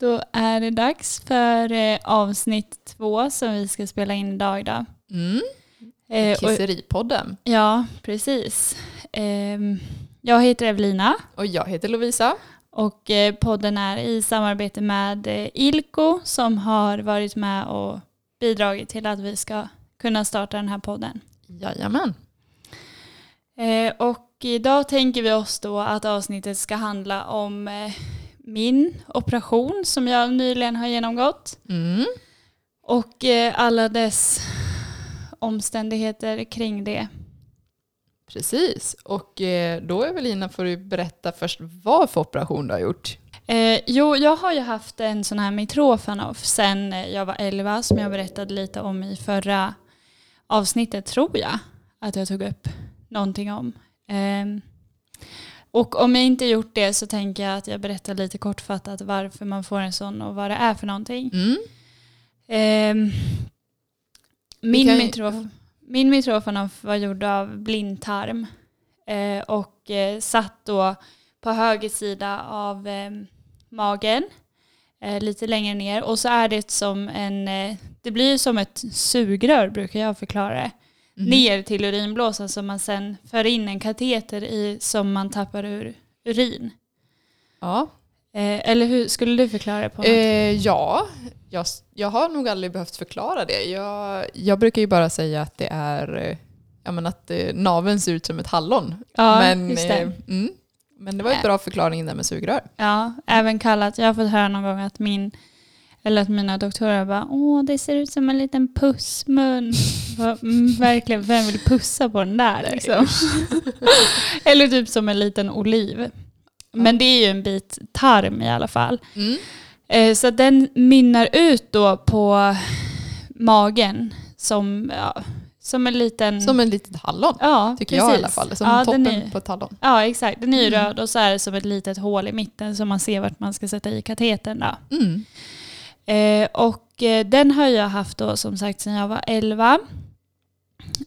Då är det dags för eh, avsnitt två som vi ska spela in idag. Då. Mm. Eh, och, Kisseripodden. ja, precis. Ehm, jag heter Evelina Och jag heter Lovisa. och eh, podden är i samarbete med eh, Ilko som har varit med och bidragit till att vi ska kunna starta den här podden. Jajamän. Eh, och idag tänker vi oss då att avsnittet ska handla om eh, min operation som jag nyligen har genomgått. Mm. Och eh, alla dess omständigheter kring det. Precis. Och eh, då Evelina får du berätta först vad för operation du har gjort. Eh, jo, jag har ju haft en sån här mitrofanoff sen eh, jag var 11 som jag berättade lite om i förra avsnittet tror jag att jag tog upp någonting om. Ehm, och om jag inte gjort det så tänker jag att jag berättar lite kortfattat varför man får en sån och vad det är för någonting. Mm. Ehm, min, kan ju- mitrof, min mitrofanoff var gjord av blindtarm eh, och eh, satt då på höger sida av ehm, magen eh, lite längre ner och så är det som en, eh, det blir ju som ett sugrör brukar jag förklara det, Mhm. ner till urinblåsan som man sen för in en kateter i som man tappar ur urin. Ja. Eh, eller hur skulle du förklara det på något? Eh, ja. Jag, jag har nog aldrig behövt förklara det. Jag, jag brukar ju bara säga att det är eh, ja, men att eh, naveln ser ut som ett hallon. ja, men, just det. Äh. eh, mm. men det var ju en bra förklaring där med sugrör. Ja, även kallat. Jag har fått höra någon gång att min eller att mina doktorer bara åh det ser ut som en liten pussmun. Bara, mm, verkligen, vem vill pussa på den där liksom? eller typ som en liten oliv. Men det är ju en bit tarm i alla fall. Mm. Eh, Så att den mynnar ut då på magen som, ja, som en liten... Som en litet hallon. ja, Tycker jag i alla precis. fall. Som Ja, den toppen är- på ett hallon. Ja, exakt. Den är ju Mm. röd och så är det som ett litet hål i mitten som man ser vart man ska sätta i katetern. Då. Mm. Eh, och eh, den har jag haft då som sagt sedan jag var 11.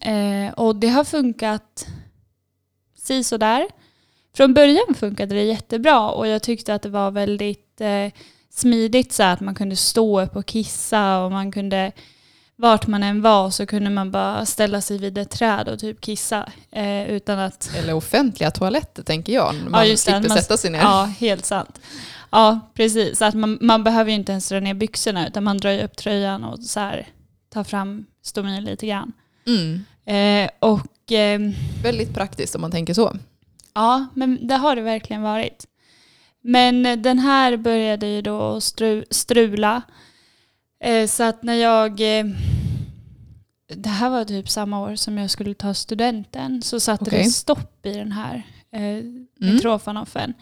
Eh, och det har funkat si så där. Från början funkade det jättebra och jag tyckte att det var väldigt eh, smidigt så att man kunde stå upp och kissa och man kunde vart man än var så kunde man bara ställa sig vid ett träd och typ kissa eh, utan att Eller offentliga toaletter tänker jag. Man just det, slipper man- sätta sig ner. Ja, helt sant. Ja, precis. Att man, man behöver ju inte ens dra ner byxorna utan man drar ju upp tröjan och så här, tar fram stomin lite grann. Mm. Eh, och ehm, Väldigt praktiskt om man tänker så. ja, men det har det verkligen varit. Men eh, den här började ju då stru, strula. Eh, så att när jag... Eh, det här var typ samma år som jag skulle ta studenten så satte det Okej. stopp i den här eh, Mm. i trofanoffen.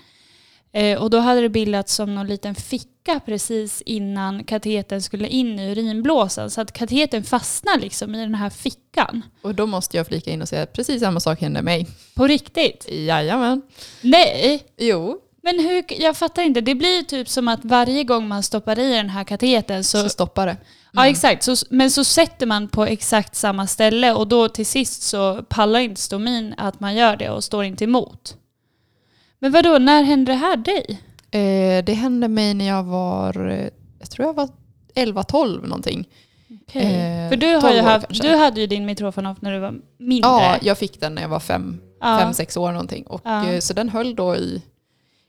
Eh, och då hade det bildats som någon liten ficka precis innan katetern skulle in i urinblåsan. Så att katetern fastnar liksom i den här fickan. Och då måste jag flika in och säga att precis samma sak hände mig. På riktigt? Jajamän. Nej! Jo, Men hur, jag fattar inte. Det blir ju typ som att varje gång man stoppar i den här katetern så... så, mm. stoppar det. Ja exakt, så, men så sätter man på exakt samma ställe och då till sist så pallar inte stomin att man gör det och står inte emot. Men vadå, när hände det här dig? Eh, det hände mig när jag var, eh, jag tror jag var 11-12 någonting. Okej. Eh, För du, har 12 ju år haft, kanske. du hade ju din mitrofanov när du var mindre. Ja, jag fick den när jag var 5-6 Ja. år någonting. Och, Ja. eh, så den höll då i,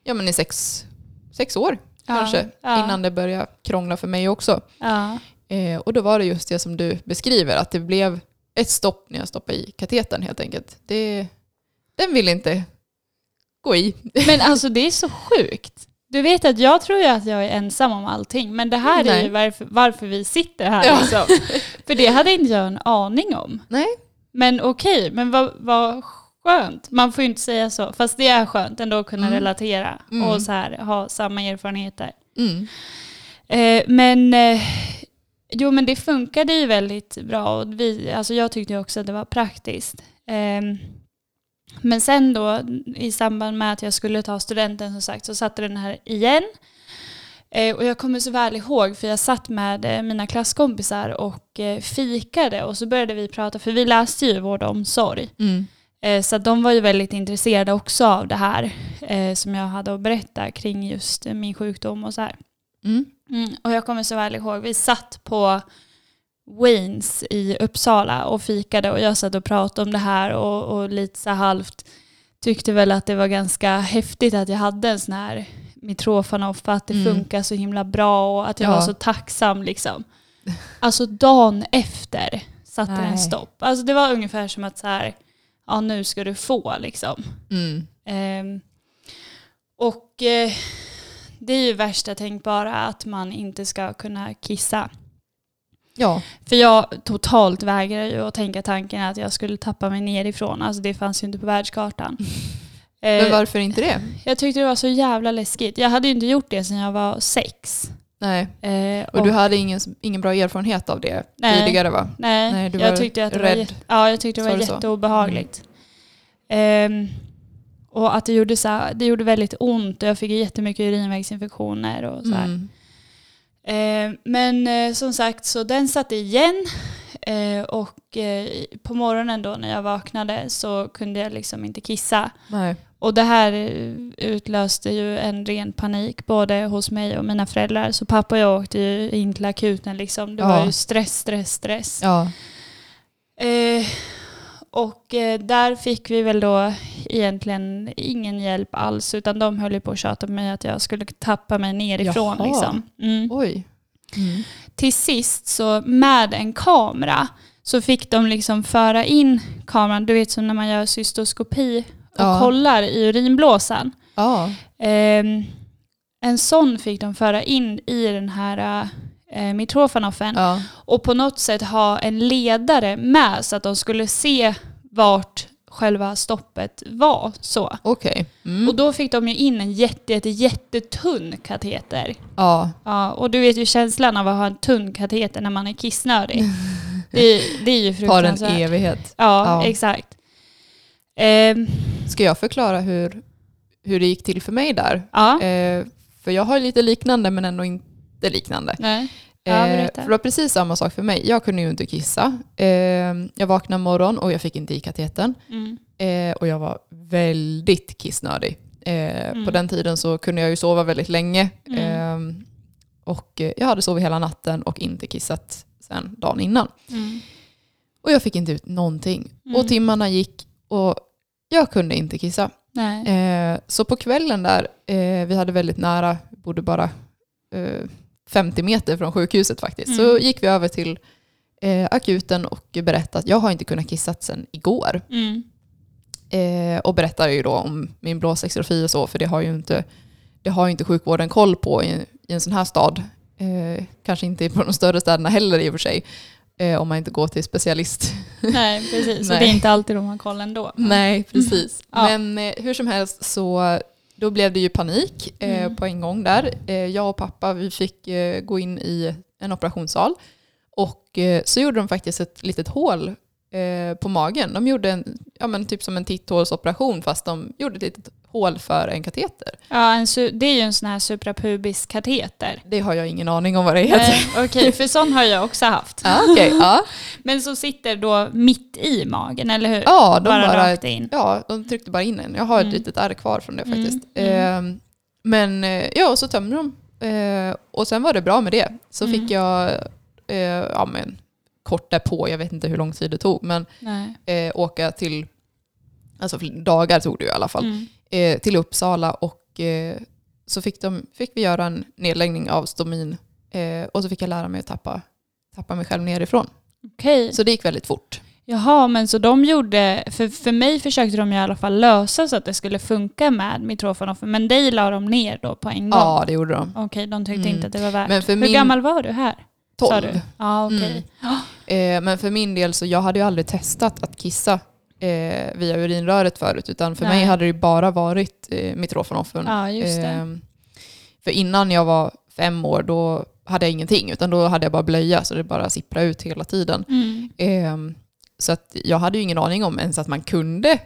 ja men i sex, sex år Ja. kanske. Ja. Innan det började krångla för mig också. Ja. Eh, och då var det just det som du beskriver, att det blev ett stopp när jag stoppade i katetern helt enkelt. Det, den vill inte gå i. Men alltså det är så sjukt. Du vet att jag tror ju att jag är ensam om allting, men det här är Nej. ju varför, varför vi sitter här. Ja. Liksom. För det hade inte jag en aning om. Nej. Men okej, men vad, vad skönt. Man får ju inte säga så, fast det är skönt ändå att kunna Mm. relatera Mm. och så här, ha samma erfarenheter. Mm. Eh, men eh, jo, men det funkade ju väldigt bra och vi, alltså jag tyckte ju också att det var praktiskt. Ehm, men sen då i samband med att jag skulle ta studenten som sagt så satte den här igen. Eh, och jag kommer så väl ihåg för jag satt med eh, mina klasskompisar och eh, fikade och så började vi prata för vi läste ju vård och omsorg. Mm. Eh, Så att de var ju väldigt intresserade också av det här eh, som jag hade att berätta kring just eh, min sjukdom och så här. Mm. Mm, och jag kommer så väl ihåg, vi satt på Waynes i Uppsala och fikade och jag satt och pratade om det här och, och lite så halvt tyckte väl att det var ganska häftigt att jag hade en sån här Mitrofanov för att det Mm. funkar så himla bra och att jag Ja. var så tacksam liksom. Alltså dagen efter satte den Nej. stopp. Alltså det var ungefär som att så här, ja nu ska du få liksom. Mm. Ehm, och eh, det är ju värsta tänkbara att man inte ska kunna kissa. Ja. För jag totalt vägrar ju att tänka tanken att jag skulle tappa mig nerifrån. Alltså det fanns ju inte på världskartan. Men Eh, varför inte det? jag tyckte det var så jävla läskigt. Jag hade ju inte gjort det sedan jag var sex. Nej. Eh, Och du hade ingen, ingen bra erfarenhet av det Nej. tidigare va? Nej, Nej, du jag var tyckte att det rädd. var, jätte- ja, jag tyckte det Sa var du så? Mm. jätteobehagligt. Ehm, och att det gjorde, så här, det gjorde väldigt ont och jag fick jättemycket urinvägsinfektioner och så här. Mm. Ehm, men eh, som sagt, så den satt igen eh, och eh, på morgonen då när jag vaknade så kunde jag liksom inte kissa. Nej. Och det här eh, utlöste ju en ren panik både hos mig och mina föräldrar. Så pappa och jag åkte ju in till akuten liksom. Det var Ja. ju stress, stress, stress. Ja. Eh, och eh, där fick vi väl då egentligen ingen hjälp alls utan de höll ju på att tjata på mig att jag skulle tappa mig nerifrån. Jaha. Liksom. Mm. Oj. Mm. Till sist så med en kamera så fick de liksom föra in kameran, du vet som när man gör cystoskopi och Ja. kollar i urinblåsan. Ja. Ehm, en sån fick de föra in i den här eh, mitrofanoffen ja. och på något sätt ha en ledare med så att de skulle se vart själva stoppet var. Så. Okej. Mm. Och då fick de ju in en jätte, jätte, jättetunn kateter. Ja. Ja, och du vet ju känslan av att ha en tunn kateter när man är kissnödig. Det, det är ju Tar en fruktansvärt. Ja, evighet. Ja. exakt. Ehm, Ska jag förklara hur, hur det gick till för mig där? ja, Eh, för jag har lite liknande men ändå inte liknande. nej. Ja, Eh, berätta. för det var precis samma sak för mig. Jag kunde ju inte kissa. Eh, jag vaknade morgon och jag fick inte i katetern. Mm, Eh, och jag var väldigt kissnödig. Eh, Mm. På den tiden så kunde jag ju sova väldigt länge. Mm. Eh, och eh, jag hade sovit hela natten och inte kissat sen dagen innan. mm, Och jag fick inte ut någonting. Mm. Och timmarna gick och jag kunde inte kissa. nej. Eh, så på kvällen där, eh, vi hade väldigt nära, bodde bara eh, 50 meter från sjukhuset faktiskt, så Mm. gick vi över till eh, akuten och berättade att jag har inte kunnat kissa sedan igår. Mm, Eh, och berättade ju då om min blåsextrofi och så, för det har ju inte, det har ju inte sjukvården koll på i, i en sån här stad. Eh, kanske inte på de större städerna heller i och för sig, eh, om man inte går till specialist. nej, precis. Och det Nej. är inte alltid de har koll ändå. Nej, precis. Mm. Ja. Men eh, hur som helst så då blev det ju panik eh, Mm. på en gång där. Eh, jag och pappa vi fick eh, gå in i en operationssal och eh, så gjorde de faktiskt ett litet hål eh, på magen. De gjorde en, ja, men typ som en titthålsoperation fast de gjorde ett litet hål för en kateter. Ja, en su- det är ju en sån här suprapubisk kateter. Det har jag ingen aning om vad det heter. Nej, Okej, för sån har jag också haft. Ja, okej. ja. Men som sitter då mitt i magen, eller hur? ja, de bara, bara rakt in. Ja, de tryckte bara in en. Jag har ett Mm. litet ärr kvar från det Mm, faktiskt. mm. Ehm, men eh, ja, och så tömde de. Eh, och sen var det bra med det. Så Mm. fick jag, eh, ja men kort därpå, jag vet inte hur lång tid det tog, men Nej. eh, åka till, alltså fl- dagar tog det ju i alla fall, Mm. eh, till Uppsala och eh, så fick, de, fick vi göra en nedläggning av stomin eh, och så fick jag lära mig att tappa, tappa mig själv nerifrån. Okej. Så det gick väldigt fort. Jaha, men så de gjorde, för, för mig försökte de ju i alla fall lösa så att det skulle funka med mitrofanoff, men dig la de ner då på en gång? Ja, det gjorde de. Okej, de tyckte Mm. inte att det var värt. Men för hur min- gammal var du här? sa du? Tolv. Ja, okej. Mm. Eh, men för min del så jag hade ju aldrig testat att kissa eh, via urinröret förut utan för Nej. mig hade det ju bara varit eh, mitrofenoffen. Ja, just det. Eh, för innan jag var fem år då hade jag ingenting utan då hade jag bara blöja så det bara sipprade ut hela tiden. Mm. Eh, så att jag hade ju ingen aning om ens att man kunde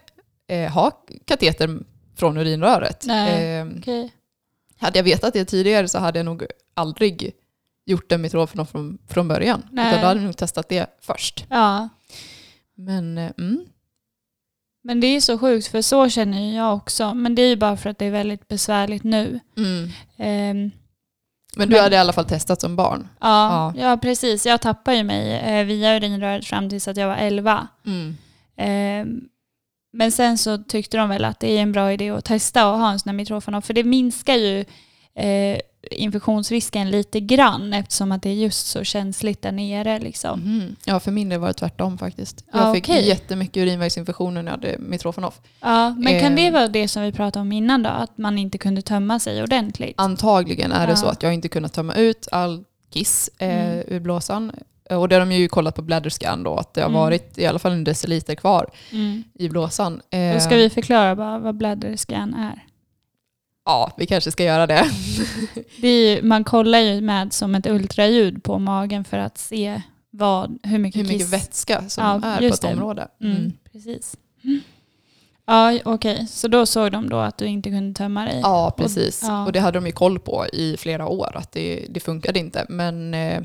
eh, ha kateter från urinröret. Nej. Eh, Okej. hade jag vetat det tidigare så hade jag nog aldrig gjort en mitrofenoff från, från början. Nej. Utan då hade jag nog testat det först. Ja. Men eh, mm, Men det är så sjukt, för så känner ju jag också. Mm. Men det är ju bara för att det är väldigt besvärligt nu. Mm. Ehm, Men du hade i alla fall testat som barn? Ja, ja. precis. Jag tappade ju mig eh, via urinröret fram tills att jag var 11. Mm. Eh, men sen så tyckte de väl att det är en bra idé att testa och ha en sån här mitrofenol, för det minskar ju eh, infektionsrisken lite grann eftersom att det är just så känsligt där nere. Liksom. Mhm. Ja, för min del var det tvärtom faktiskt. Ja, Jag fick okej. jättemycket urinvägsinfektioner när jag hade Mitrofenoff. Ja, men kan det Eh. vara det som vi pratade om innan då? Att man inte kunde tömma sig ordentligt? Antagligen är det Ja. så att jag inte kunnat tömma ut all kiss eh, Mm. ur blåsan. Eh, Och det har de ju kollat på bladderscan då, att det har Mm. varit i alla fall en deciliter kvar Mm. i blåsan. Då Eh, ska vi förklara bara vad bladderscan är. Ja, vi kanske ska göra det. Det är ju, man kollar ju med som ett ultraljud på magen för att se vad, hur mycket, Hur mycket kiss. vätska som Ja, är på just ett det. område. Mm, Mm. Precis. Ja, okej. Så då såg de då att du inte kunde tömma dig? Ja, precis. ja. Och det hade de ju koll på i flera år, att det, det funkade inte. Men eh,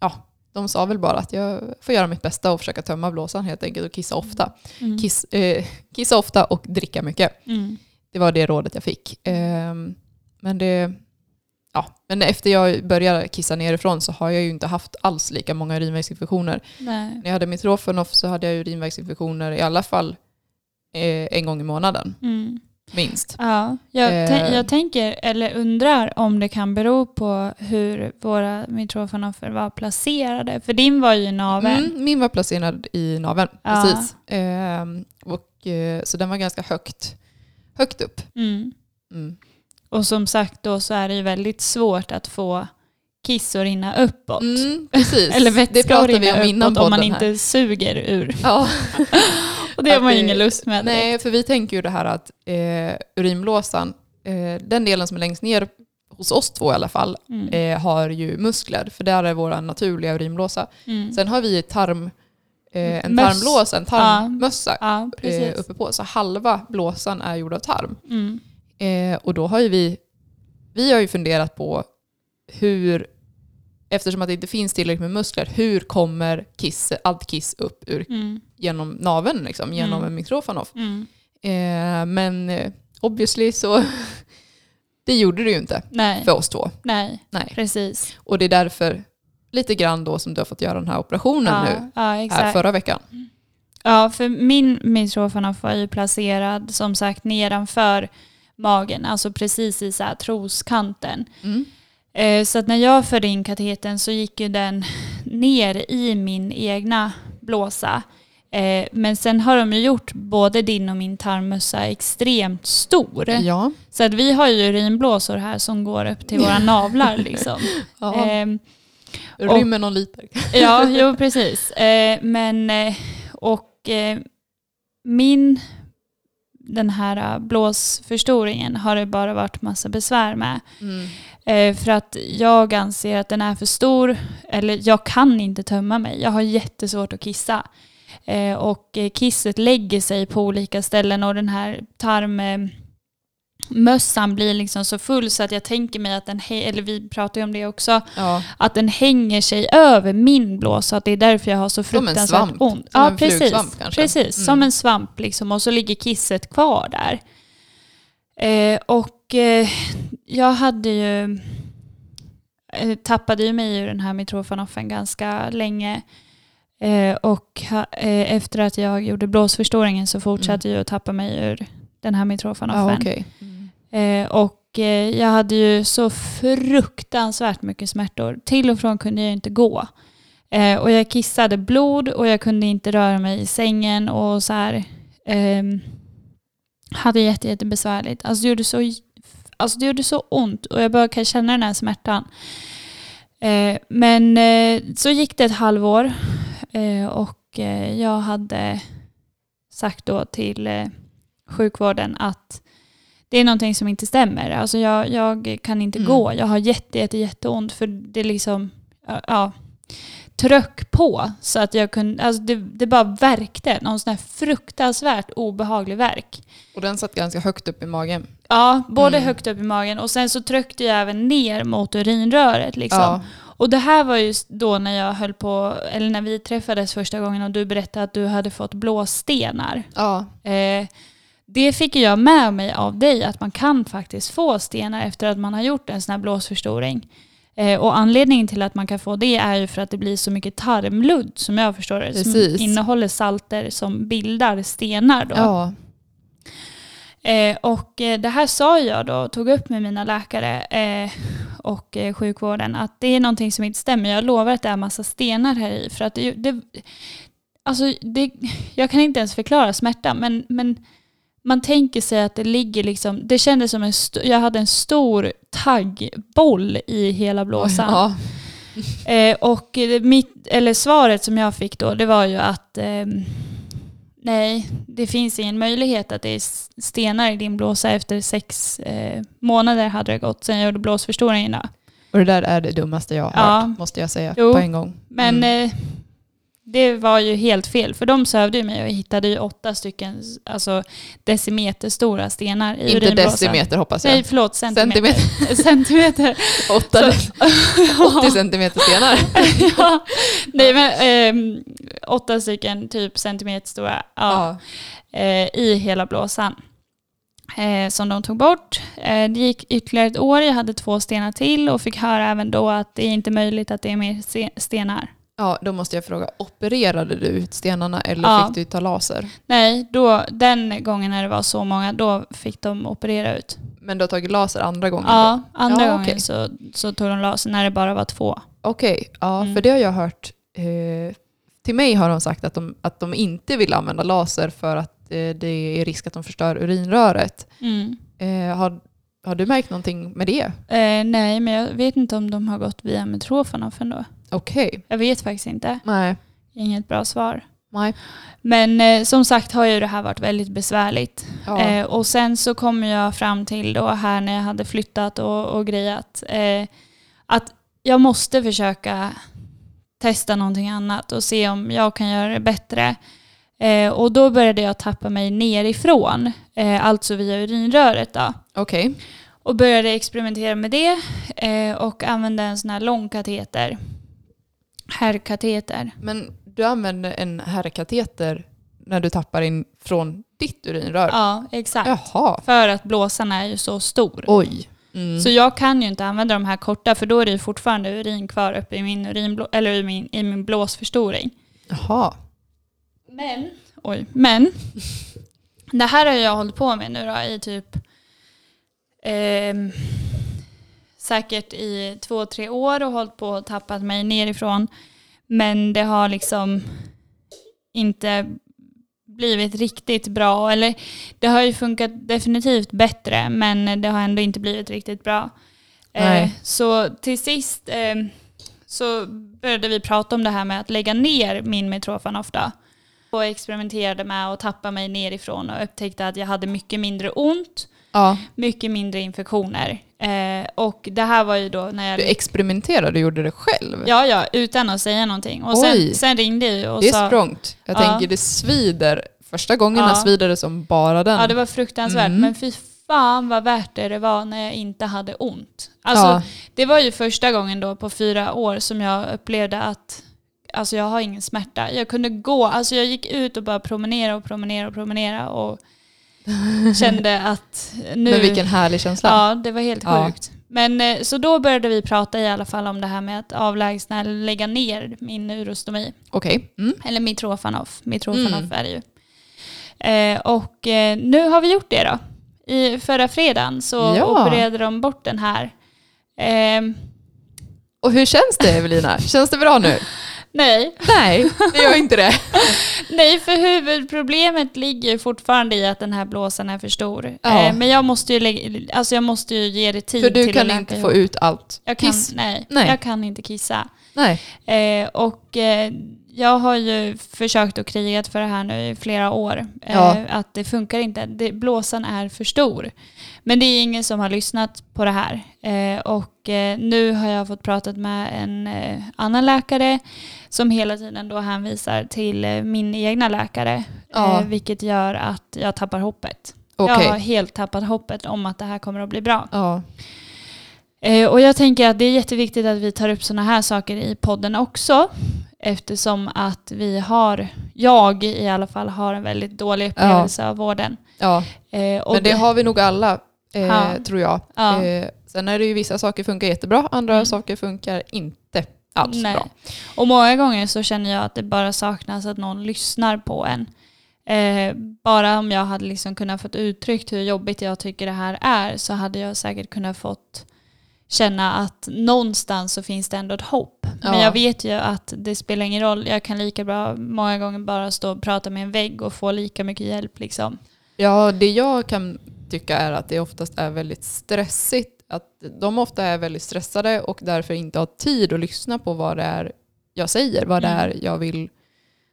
ja, de sa väl bara att jag får göra mitt bästa och försöka tömma blåsan helt enkelt och kissa ofta. Mm. Kiss, eh, kissa ofta och dricka mycket. Mm. Det var det rådet jag fick. Ehm, men, det, ja, men efter jag började kissa nerifrån så har jag ju inte haft alls lika många urinvägsinfektioner. Nej. När jag hade mitrofenoff så hade jag urinvägsinfektioner i alla fall eh, en gång i månaden, Mm. minst. Ja, jag, Eh. tän- jag tänker, eller undrar om det kan bero på hur våra mitrofenofer var placerade. För din var ju i naveln. Mm, min var placerad i naveln, Ja. precis. Ehm, och, eh, så den var ganska högt, högt upp. Mm. Mm. Och som sagt då så är det ju väldigt svårt att få kiss att rinna uppåt. Mm, precis. Eller vätska det att pratade vi rinna om innan uppåt om man podden inte Här. suger ur. Ja, Och det har Att man ju det- ingen lust med. direkt. nej, för vi tänker ju det här att eh, urinblåsan, eh, den delen som är längst ner hos oss två i alla fall, Mm. eh, har ju muskler, för där är vår naturliga urinblåsa. Mm. Sen har vi ett tarm, eh, en Möss. tarmblåsa, en tarmmössa Ja, eh, precis. uppe på, så halva blåsan är gjord av tarm. Mm. Eh, och då har ju vi, vi har ju funderat på hur, eftersom att det inte finns tillräckligt med muskler, hur kommer kiss, allt kiss upp ur, Mm. genom naveln, liksom, genom Mm. en mikrofanoff? Mm. Eh, men eh, obviously så, det gjorde det ju inte Nej. för oss två. Nej, Nej. precis. Och det är därför lite grann då som du har fått göra den här operationen ja, nu, ja, här exakt. förra veckan. Ja, för min mitrofanoff var ju placerad som sagt nedanför magen, alltså precis i så här, troskanten. Mm. Eh, så att när jag förde in katetern så gick ju den ner i min egna blåsa. Eh, men sen har de ju gjort både din och min tarmmössa extremt stor. Ja. Så att vi har ju urinblåsor här som går upp till våra navlar liksom. ja. Ehm, Rymmer någon liter. Ja, jo precis. Eh, men, eh, och eh, min, den här eh, blåsförstoringen har det bara varit massa besvär med. Mm. Eh, för att jag anser att den är för stor, eller jag kan inte tömma mig. Jag har jättesvårt att kissa. Eh, och eh, kisset lägger sig på olika ställen och den här tarmmössan blir liksom så full så att jag tänker mig att den, hä- eller vi pratar ju om det också, Ja. att den hänger sig över min blåsa. Att det är därför jag har så Som en fruktansvärt svamp. ont. Som ja, en precis. flugsvamp kanske. Precis, Mm. som en svamp liksom. Och så ligger kisset kvar där. Eh, och eh, jag hade ju... eh, Tappade ju mig ur den här mitrofanoffen ganska länge. Eh, och ha, eh, efter att jag gjorde blåsförstoringen så fortsatte jag att tappa mig ur den här mitrofanoffen. Ja, Mm. okej. Mm. Eh, och eh, jag hade ju så fruktansvärt mycket smärtor. Till och från kunde jag inte gå. Eh, och jag kissade blod och jag kunde inte röra mig i sängen och så här. ehm, hade jätte, jättebesvärligt. Alltså det, gjorde så, alltså det gjorde så ont och jag började kan känna den här smärtan. Eh, men eh, så gick det ett halvår eh, och eh, jag hade sagt då till eh, sjukvården att det är någonting som inte stämmer. Alltså jag, jag kan inte Mm. gå. Jag har jätte, jätte, jätteont för det är liksom, ja, ja, tröck på. Så att jag kunde, alltså det, det bara värkte. Någon sån här fruktansvärt obehaglig värk. Och den satt ganska högt upp i magen. Ja, både Mm. högt upp i magen och sen så tryckte jag även ner mot urinröret. Liksom. Ja. Och det här var ju då när jag höll på, eller när vi träffades första gången och du berättade att du hade fått blåstenar. Ja. Eh, det fick ju jag med mig av dig, att man kan faktiskt få stenar efter att man har gjort en sån här blåsförstoring. Eh, och anledningen till att man kan få det är ju för att det blir så mycket tarmludd som jag förstår det. Precis. Som innehåller salter som bildar stenar då. Ja. Eh, och eh, det här sa jag då, tog upp med mina läkare eh, och eh, sjukvården, att det är någonting som inte stämmer. Jag lovar att det är massa stenar här i. För att det, det, alltså det, jag kan inte ens förklara smärta, men, men man tänker sig att det ligger liksom, det kändes som en, st- jag hade en stor taggboll i hela blåsan. Ja. Eh, och eh, mitt, eller svaret som jag fick då, det var ju att ehm, nej, det finns ingen möjlighet att det är s- stenar i din blåsa efter sex eh, månader hade det gått sen jag gjorde blåsförstoringarna. Och det där är det dummaste jag har Ja. hört, måste jag säga Jo. på en gång. Mm. Men eh, det var ju helt fel, för de sövde ju mig och hittade ju åtta stycken s- alltså, decimeterstora stenar i Inte urinblåsan. decimeter hoppas jag. Nej, förlåt, centimeter. Centimeter. centimeter. 80 centimeter stenar. ja, nej men ehm, åtta stycken typ centimeter stora ja, Ja. eh, i hela blåsan. Eh, som de tog bort. Eh, det gick ytterligare ett år, jag hade två stenar till och fick höra även då att det är inte möjligt att det är mer se- stenar. ja, då måste jag fråga, opererade du ut stenarna eller Ja. fick du ta laser? Nej, då, den gången när det var så många, då fick de operera ut. Men du har tagit laser andra gången? då? Ja, andra Ja, okej. gången så, så tog de laser när det bara var två. Okej, ja, Mm. för det har jag hört. Eh, till mig har de sagt att de, att de inte vill använda laser för att eh, det är risk att de förstör urinröret. Mm. Eh, har, har du märkt någonting med det? Eh, nej, men jag vet inte om de har gått via metrofanaf ändå. Okej. Jag vet faktiskt inte. Nej. Inget bra svar. Nej. Men eh, som sagt har ju det här varit väldigt besvärligt. Ja. Eh, och sen så kom jag fram till då här när jag hade flyttat och, och grejat eh, att jag måste försöka testa någonting annat och se om jag kan göra det bättre. Eh, och då började jag tappa mig nerifrån, eh, alltså via urinröret då. Okej. Och började experimentera med det eh, och använde en sån här lång kateter. Herrkateter. Men du använder en herrkateter när du tappar in från ditt urinrör? Ja, exakt. Jaha. För att blåsan är ju så stor. Oj. Mm. Så jag kan ju inte använda de här korta för då är det ju fortfarande urin kvar uppe i min, urinblå, eller i min, i min blåsförstoring. Jaha. Men, oj, men det här har jag hållit på med nu då i typ ehm, säkert i två, tre år och hållit på och tappat mig nerifrån. Men det har liksom inte blivit riktigt bra. Eller det har ju funkat definitivt bättre men det har ändå inte blivit riktigt bra. Eh, Nej. så till sist ehm, så började vi prata om det här med att lägga ner min metrofan ofta. Och experimenterade med att tappa mig nerifrån och upptäckte att jag hade mycket mindre ont, Ja. mycket mindre infektioner. Eh, och det här var ju då när jag... Du experimenterade, du gjorde det själv. Ja, ja, utan att säga någonting. Och Oj. sen, sen ringde jag ju och det är sa... strångt. Jag Ja. tänker det svider. Första gången Ja. svider det som bara den. Ja, det var fruktansvärt. Mm. Men fy fan vad värt det det var när jag inte hade ont. Alltså, Ja. Det var ju första gången då på fyra år som jag upplevde att alltså, jag har ingen smärta. Jag kunde gå, alltså jag gick ut och bara promenera och promenera och promenera och kände att nu... Men vilken härlig känsla. Ja, det var helt Ja. sjukt. Men eh, så då började vi prata i alla fall om det här med att avlägsna eller lägga ner min urostomi. Okej. Mm. Eller Mitrofanoff. Mitrofanoff Mm. är det ju. Eh, och eh, nu har vi gjort det då. I förra fredagen så Ja. opererade de bort den här. Ehm, Och hur känns det Evelina? Känns det bra nu? nej. Nej, det gör inte det. nej, för huvudproblemet ligger ju fortfarande i att den här blåsan är för stor. Ja. Eh, men jag måste, ju lägga, alltså jag måste ju ge det tid För du till kan att inte läka få ihop. ut allt jag kan, kiss. nej, Nej. jag kan inte kissa. Nej. Eh, och eh, jag har ju försökt och krigat för det här nu i flera år. Eh, Ja. Att det funkar inte. Det, blåsan är för stor. Men det är ingen som har lyssnat på det här. Eh, och eh, nu har jag fått pratat med en eh, annan läkare som hela tiden då hänvisar till eh, min egna läkare. Ja. Eh, vilket gör att jag tappar hoppet. Okej. Jag har helt tappat hoppet om att det här kommer att bli bra. Ja. Eh, Och jag tänker att det är jätteviktigt att vi tar upp sådana här saker i podden också. Eftersom att vi har, jag i alla fall, har en väldigt dålig upplevelse av vården. ja. Eh, och Men det har vi nog alla eh, Ja. tror jag. Ja. Eh, sen är det ju vissa saker funkar jättebra, andra Mm. saker funkar inte alls Nej. bra. Och många gånger så känner jag att det bara saknas att någon lyssnar på en. Eh, bara om jag hade liksom kunnat få uttryckt hur jobbigt jag tycker det här är så hade jag säkert kunnat fått känna att någonstans så finns det ändå ett hopp. Men Ja. jag vet ju att det spelar ingen roll. Jag kan lika bra många gånger bara stå och prata med en vägg och få lika mycket hjälp. Liksom. Ja, det jag kan tycka är att det oftast är väldigt stressigt. Att de ofta är väldigt stressade och därför inte har tid att lyssna på vad det är jag säger, vad det Mm. är jag vill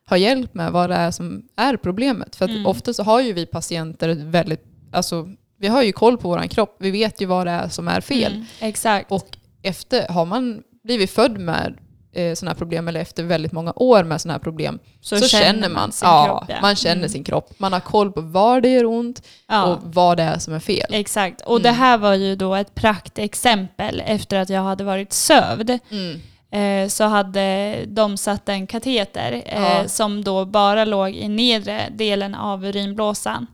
ha hjälp med, vad det är som är problemet. För att Mm. ofta så har ju vi patienter ett väldigt, alltså vi har ju koll på vår kropp, vi vet ju vad det är som är fel. Mm, exakt. Och efter, har man blivit född med eh, sådana här problem eller efter väldigt många år med sådana här problem så, känner man, sin ja, kropp, ja. man känner Mm. sin kropp. Man har koll på var det gör ont, Ja. och vad det är som är fel. Exakt, och Mm. det här var ju då ett praktexempel efter att jag hade varit sövd. Mm. Eh, så hade de satt en kateter eh, Ja. som då bara låg i nedre delen av urinblåsan.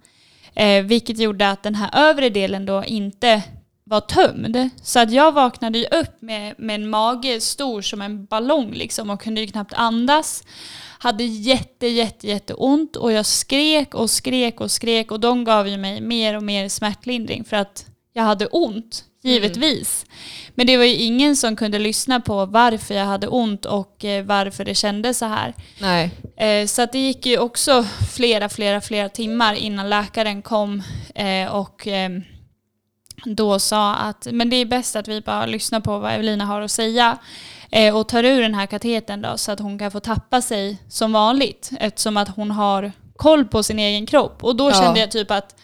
Eh, vilket gjorde att den här övre delen då inte var tömd. Så att jag vaknade ju upp med, med en mage stor som en ballong liksom och kunde ju knappt andas. Hade jätte, jätte, jätte ont och jag skrek och skrek och skrek och de gav ju mig mer och mer smärtlindring för att jag hade ont, givetvis. Men det var ju ingen som kunde lyssna på varför jag hade ont och eh, varför det kändes så här. Nej. Eh, Så att det gick ju också flera, flera, flera timmar innan läkaren kom eh, och eh, då sa att men det är bäst att vi bara lyssnar på vad Evelina har att säga eh, och tar ur den här katetern då så att hon kan få tappa sig som vanligt eftersom att hon har koll på sin egen kropp. Och då Ja. kände jag typ att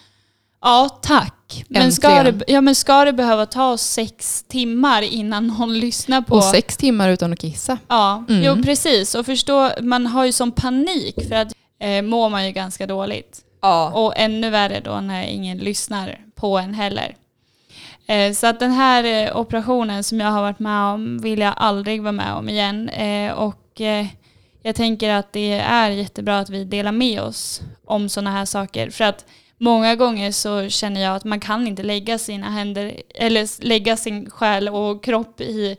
ja tack, men ska, Äntligen. det, ja, men ska det behöva ta sex timmar innan någon lyssnar på Och sex timmar utan att kissa. Ja, Mm. jo precis. Och förstå, man har ju som panik för att eh, mår man ju ganska dåligt. Ja. Och ännu värre då när ingen lyssnar på en heller. Eh, så att den här eh, operationen som jag har varit med om vill jag aldrig vara med om igen. Eh, och eh, jag tänker att det är jättebra att vi delar med oss om sådana här saker. För att många gånger så känner jag att man kan inte lägga sina händer, eller s- lägga sin själ och kropp i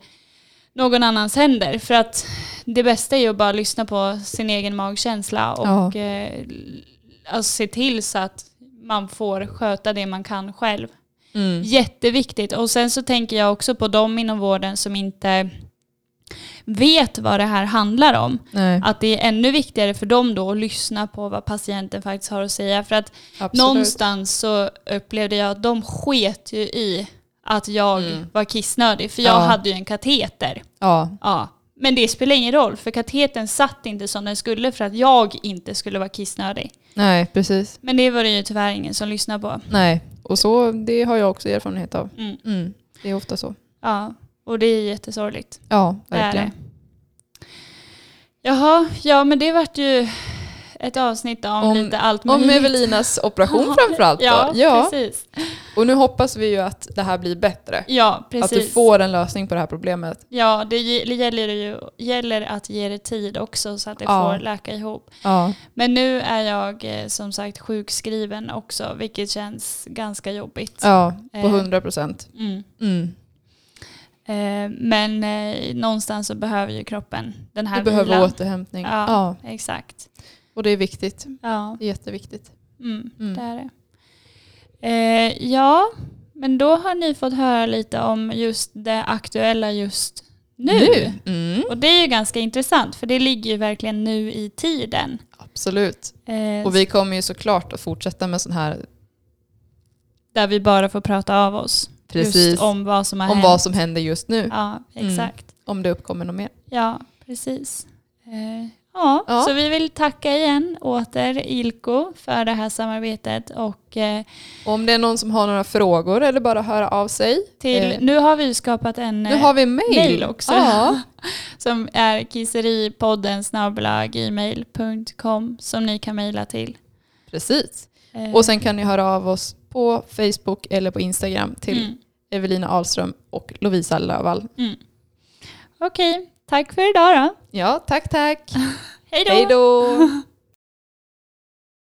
någon annans händer. För att det bästa är ju att bara lyssna på sin egen magkänsla och eh, l- alltså se till så att man får sköta det man kan själv. Mm. Jätteviktigt. Och sen så tänker jag också på de inom vården som inte vet vad det här handlar om. Nej. Att det är ännu viktigare för dem då att lyssna på vad patienten faktiskt har att säga. För att Absolut. Någonstans så upplevde jag att de sket ju i att jag Mm. var kissnödig, för jag Ja. hade ju en kateter. Ja. Ja. Men det spelar ingen roll, för katetern satt inte som den skulle för att jag inte skulle vara kissnödig. Nej, precis. Men det var det ju tyvärr ingen som lyssnade på. Nej. Och så, det har jag också erfarenhet av. Mm. Mm. Det är ofta så. Ja. Och det är jättesorgligt. Ja, Det är verkligen. det. Jaha, ja men det vart ju ett avsnitt om, Om- lite allt Om möjligt. Evelinas operation framförallt då. Ja, Ja, precis. Och nu hoppas vi ju att det här blir bättre. Ja, precis. Att du får en lösning på det här problemet. Ja, det ge- gäller, ju, gäller att ge det tid också så att det Ja. får läka ihop. Ja. Men nu är jag eh, som sagt sjukskriven också, vilket känns ganska jobbigt. Ja, på Eh. 100 procent. Mm. Mm. Eh, men eh, någonstans så behöver ju kroppen den här Du behöver vilan. återhämtning. Ja. Ja. Exakt. Och det är viktigt. Ja, Det är jätteviktigt. mm, Mm. det är det. Eh, ja, men då har ni fått höra lite om just det aktuella just nu. Mm. Och det är ju ganska intressant, för det ligger ju verkligen nu i tiden. Absolut. Eh, Och vi kommer ju såklart att fortsätta med sån här, Eh, Där vi bara får prata av oss. precis, Just om, om vad som har hänt. vad som händer just nu. Ja, Mm. exakt. Om det uppkommer något mer. Ja, precis. Eh, ja, Ja. så vi vill tacka igen åter Ilko för det här samarbetet. Och eh, Om det är någon som har några frågor eller bara höra av sig. till, Eh. nu har vi ju skapat en Nu eh, har vi mail. mail också. Ja, som är kisseripodden snabla gmail.com som ni kan mejla till. precis. Eh, Och sen kan ni höra av oss på Facebook eller på Instagram till Mm, Evelina Ahlström och Lovisa Lövall. mm. Okej, tack för idag då. Ja, tack tack. Hej då! Hej då.